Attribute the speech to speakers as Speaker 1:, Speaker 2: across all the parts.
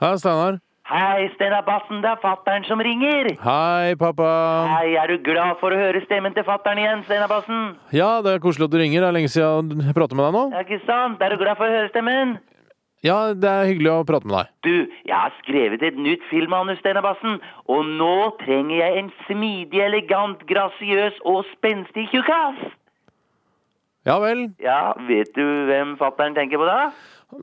Speaker 1: Hei, Steinar.
Speaker 2: Hei, Steinar Bassen, det er fattern som ringer.
Speaker 1: Hei, pappa.
Speaker 2: Hei, er du glad for å høre stemmen til fattern igjen, Steinar Bassen?
Speaker 1: Ja, det er koselig at du ringer. Det er lenge siden jeg pratet med deg nå.
Speaker 2: Ja, ikke sant? Er du glad for å høre stemmen?
Speaker 1: Ja, det er hyggelig å prate med deg.
Speaker 2: Du, jeg har skrevet et nytt filmmanus, Steinar Bassen, og nå trenger jeg en smidig, elegant, grasiøs og spenstig tjukkas.
Speaker 1: Ja vel.
Speaker 2: Ja, vet du hvem fattern tenker på da?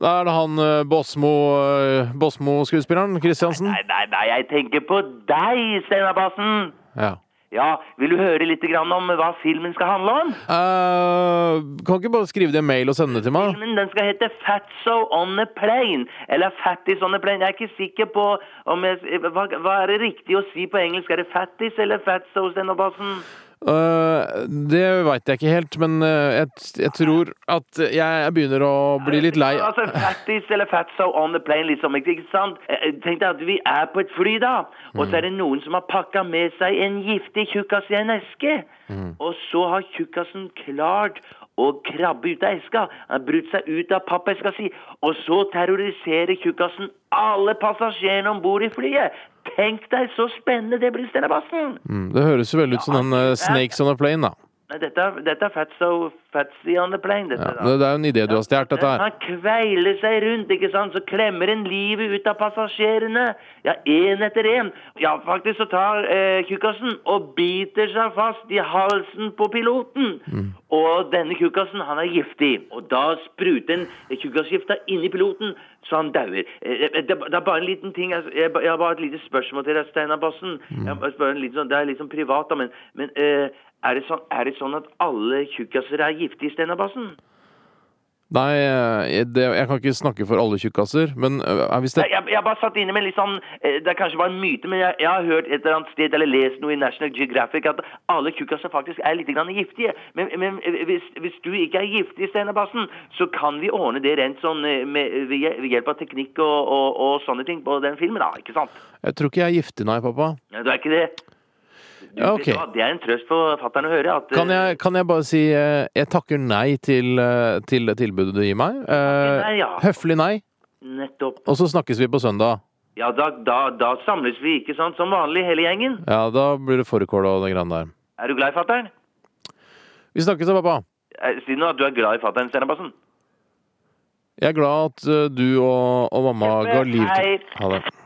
Speaker 1: Da er det han eh, Bosmo eh, Bosmo-skuespilleren Kristiansen.
Speaker 2: Nei, nei, nei, jeg tenker på deg, Steinar Bassen.
Speaker 1: Ja.
Speaker 2: Ja, vil du høre litt grann om hva filmen skal handle om?
Speaker 1: Eh, kan ikke bare skrive det i en mail og sende det til meg?
Speaker 2: Filmen den skal hete Fatso on a Plane, eller Fatties on a Plane. Jeg er ikke sikker på om jeg, hva, hva er det riktig å si på engelsk. Er det Fatties eller Fatso, Steinar Bassen?
Speaker 1: Eh, det veit jeg ikke helt, men eh, jeg, jeg tror at jeg begynner å bli litt lei.
Speaker 2: Altså, fatties eller fatso on the plane, liksom. Ikke ikke sant? Eh, Tenk deg at vi er på et fly, da. Og så er det noen som har pakka med seg en giftig tjukkas i en eske.
Speaker 1: Mm.
Speaker 2: Og så har tjukkasen klart å krabbe ut av eska. Han har brutt seg ut av pappeska si. Og så terroriserer tjukkasen alle passasjerene om bord i flyet. Tenk deg så spennende det blir, Steinar Bassen!
Speaker 1: Mm, det høres jo veldig ut som den eh, Snakes on a plane, da.
Speaker 2: Nei, Dette, er- dette er fatso, fatsy on the plane, dette,
Speaker 1: Ja,
Speaker 2: da.
Speaker 1: det, det er jo en idé du har stjålet, dette her.
Speaker 2: Han kveiler seg rundt, ikke sant? Så klemmer en livet ut av passasjerene. Ja, én etter én. Ja, faktisk så tar eh, tjukkasen og biter seg fast i halsen på piloten.
Speaker 1: Mm.
Speaker 2: Og denne tjukkasen, han er giftig. Og da spruter en tjukkasgifta inni piloten, så han dauer. Eh, eh, Det, det er bare en liten ting Jeg, jeg, jeg har bare et lite spørsmål til deg, Steinar Bassen.
Speaker 1: Mm.
Speaker 2: Jeg må spørre en litt sånn, det er litt sånn privat, da, men, men eh, er, det sånn, er det sånn at alle tjukkaser er giftige, Steinar Bassen?
Speaker 1: Nei, eh, det, jeg kan ikke snakke for alle tjukkaser, men eh, hvis det
Speaker 2: Jeg, jeg, jeg bare satt inne med litt sånn eh, Det er kanskje bare en myte, men jeg, jeg har hørt et eller annet sted eller lest noe i National Geographic at alle tjukkaser faktisk er litt grann giftige. Men, men eh, hvis, hvis du ikke er giftig, Steinar Bassen, så kan vi ordne det rent sånn eh, med, ved hjel- ved hjelp av teknikk og, og, og sånne ting på den filmen, da. Ikke sant?
Speaker 1: Jeg tror ikke jeg er giftig, nei, pappa.
Speaker 2: Ja, Du er ikke det? Du,
Speaker 1: Ja,
Speaker 2: vet du
Speaker 1: ok.
Speaker 2: hva, Det er en trøst for fatter'n å høre. At, eh,
Speaker 1: Kan jeg, kan jeg bare si eh, jeg takker nei til, eh, til det tilbudet du gir meg? Eh,
Speaker 2: nei, ja.
Speaker 1: Høflig nei,
Speaker 2: Nettopp.
Speaker 1: og så snakkes vi på søndag.
Speaker 2: Ja, da, da, da samles vi, ikke sant? Som vanlig, hele gjengen.
Speaker 1: Ja, da blir det fårikål og det greiene der.
Speaker 2: Er du glad i fatter'n?
Speaker 1: Vi snakkes da, pappa.
Speaker 2: Eh, Si nå at du er glad i fatter'n, Steinar Bassen.
Speaker 1: Jeg er glad at eh, du og, og mamma ga liv til Ha det.